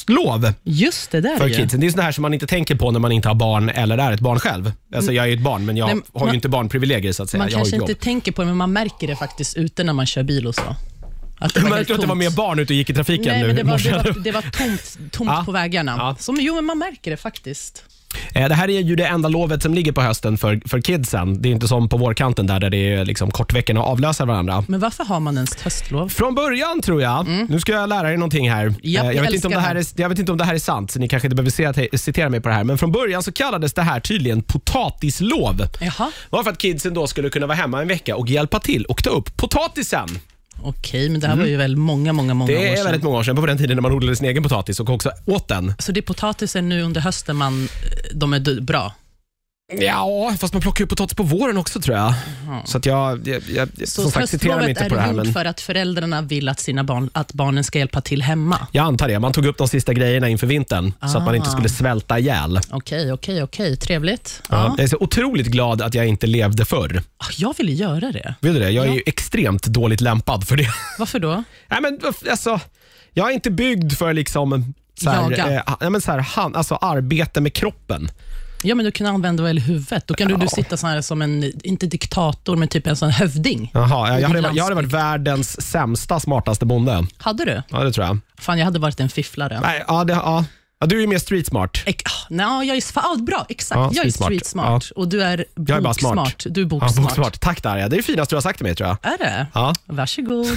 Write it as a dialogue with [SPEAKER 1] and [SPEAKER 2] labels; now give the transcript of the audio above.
[SPEAKER 1] höstlov
[SPEAKER 2] Just det där
[SPEAKER 1] för
[SPEAKER 2] ju.
[SPEAKER 1] kidsen. Det är sånt här som man inte tänker på när man inte har barn eller är ett barn själv. Alltså jag är ju ett barn, men jag
[SPEAKER 2] Nej,
[SPEAKER 1] har ju
[SPEAKER 2] Mm. man-
[SPEAKER 1] inte barnprivilegier så att säga.
[SPEAKER 2] Man
[SPEAKER 1] jag har ju
[SPEAKER 2] kanske
[SPEAKER 1] ett jobb.
[SPEAKER 2] inte tänker på det, men man märker det faktiskt ute när man kör bil och så. Att
[SPEAKER 1] Du
[SPEAKER 2] helt
[SPEAKER 1] märkte att det var
[SPEAKER 2] tomt.
[SPEAKER 1] mer barn ute och gick i trafiken
[SPEAKER 2] Nej,
[SPEAKER 1] nu
[SPEAKER 2] men det
[SPEAKER 1] i
[SPEAKER 2] var,
[SPEAKER 1] morse.
[SPEAKER 2] det var, det var tomt, tomt
[SPEAKER 1] Ja.
[SPEAKER 2] på vägarna.
[SPEAKER 1] Ja.
[SPEAKER 2] Som, jo, men man märker det faktiskt.
[SPEAKER 1] Eh, Det här är ju det enda lovet som ligger på hösten för, för kidsen. Det är inte som på vårkanten där, där det är liksom kortveckorna avlöser varandra.
[SPEAKER 2] Men varför har man ens höstlov?
[SPEAKER 1] Från början tror jag. Nu ska jag lära er någonting här.
[SPEAKER 2] Mm. jag
[SPEAKER 1] Eh, jag, vet inte
[SPEAKER 2] älskar
[SPEAKER 1] om det här
[SPEAKER 2] det.
[SPEAKER 1] är, jag vet inte om det här är sant, så ni kanske inte behöver citera, citera mig på det här. Men från början så kallades det här tydligen potatislov.
[SPEAKER 2] Jaha,
[SPEAKER 1] Varför för att kidsen då skulle kunna vara hemma en vecka och hjälpa till och ta upp potatisen.
[SPEAKER 2] okej, men det här var ju väl många, många, många
[SPEAKER 1] Mm. Det
[SPEAKER 2] år
[SPEAKER 1] är
[SPEAKER 2] sedan.
[SPEAKER 1] väldigt många år sedan, på den tiden när man odlade sin egen potatis och också åt den.
[SPEAKER 2] Så det är potatisen nu under hösten man, de är d- bra?
[SPEAKER 1] Ja, fast man plockar ju potatis på våren också tror jag. Så att jag, jag, jag
[SPEAKER 2] Så
[SPEAKER 1] som sagt, citera mig
[SPEAKER 2] höstlovet
[SPEAKER 1] inte
[SPEAKER 2] är
[SPEAKER 1] på det här.
[SPEAKER 2] gjort
[SPEAKER 1] Men
[SPEAKER 2] för att föräldrarna vill att, sina barn, att barnen ska hjälpa till hemma?
[SPEAKER 1] jag antar det. Man tog upp de sista grejerna inför vintern så att man inte
[SPEAKER 2] Ah.
[SPEAKER 1] skulle svälta ihjäl.
[SPEAKER 2] Okej, okej, okej. Trevligt.
[SPEAKER 1] Ja.
[SPEAKER 2] Ja.
[SPEAKER 1] Jag är så otroligt glad att jag inte levde förr.
[SPEAKER 2] Ah, Jag ville göra det.
[SPEAKER 1] Vet du det? Jag är
[SPEAKER 2] Ja.
[SPEAKER 1] ju extremt dåligt lämpad för det.
[SPEAKER 2] Varför då?
[SPEAKER 1] Nej, men, varf- alltså, jag är inte byggd för liksom så här,
[SPEAKER 2] Jaga.
[SPEAKER 1] eh, ha- nej, men så här, han, alltså, arbete med kroppen.
[SPEAKER 2] Ja, men du kan använda väl huvudet. Då kan du, du sitta så här som en, inte diktator, men typ en sån hövding.
[SPEAKER 1] Jaha, jag, jag, hade,
[SPEAKER 2] Landsbygd.
[SPEAKER 1] varit- jag hade varit världens sämsta, smartaste bonde.
[SPEAKER 2] Hade du?
[SPEAKER 1] Ja, det tror jag.
[SPEAKER 2] Fan, jag hade varit en fifflare.
[SPEAKER 1] Nej, ja, det, ja. Ja, du är ju mer street smart.
[SPEAKER 2] Ek, ah, no, jag är, s- ah, bra, exakt.
[SPEAKER 1] Ja,
[SPEAKER 2] jag är
[SPEAKER 1] streetsmart.
[SPEAKER 2] street smart och du är
[SPEAKER 1] Jag är bara
[SPEAKER 2] boksmart.
[SPEAKER 1] smart.
[SPEAKER 2] Du är
[SPEAKER 1] Ja,
[SPEAKER 2] boksmart.
[SPEAKER 1] boksmart. Tack Darja, det är det finaste du har sagt till mig tror jag.
[SPEAKER 2] Är det?
[SPEAKER 1] Ja.
[SPEAKER 2] Varsågod.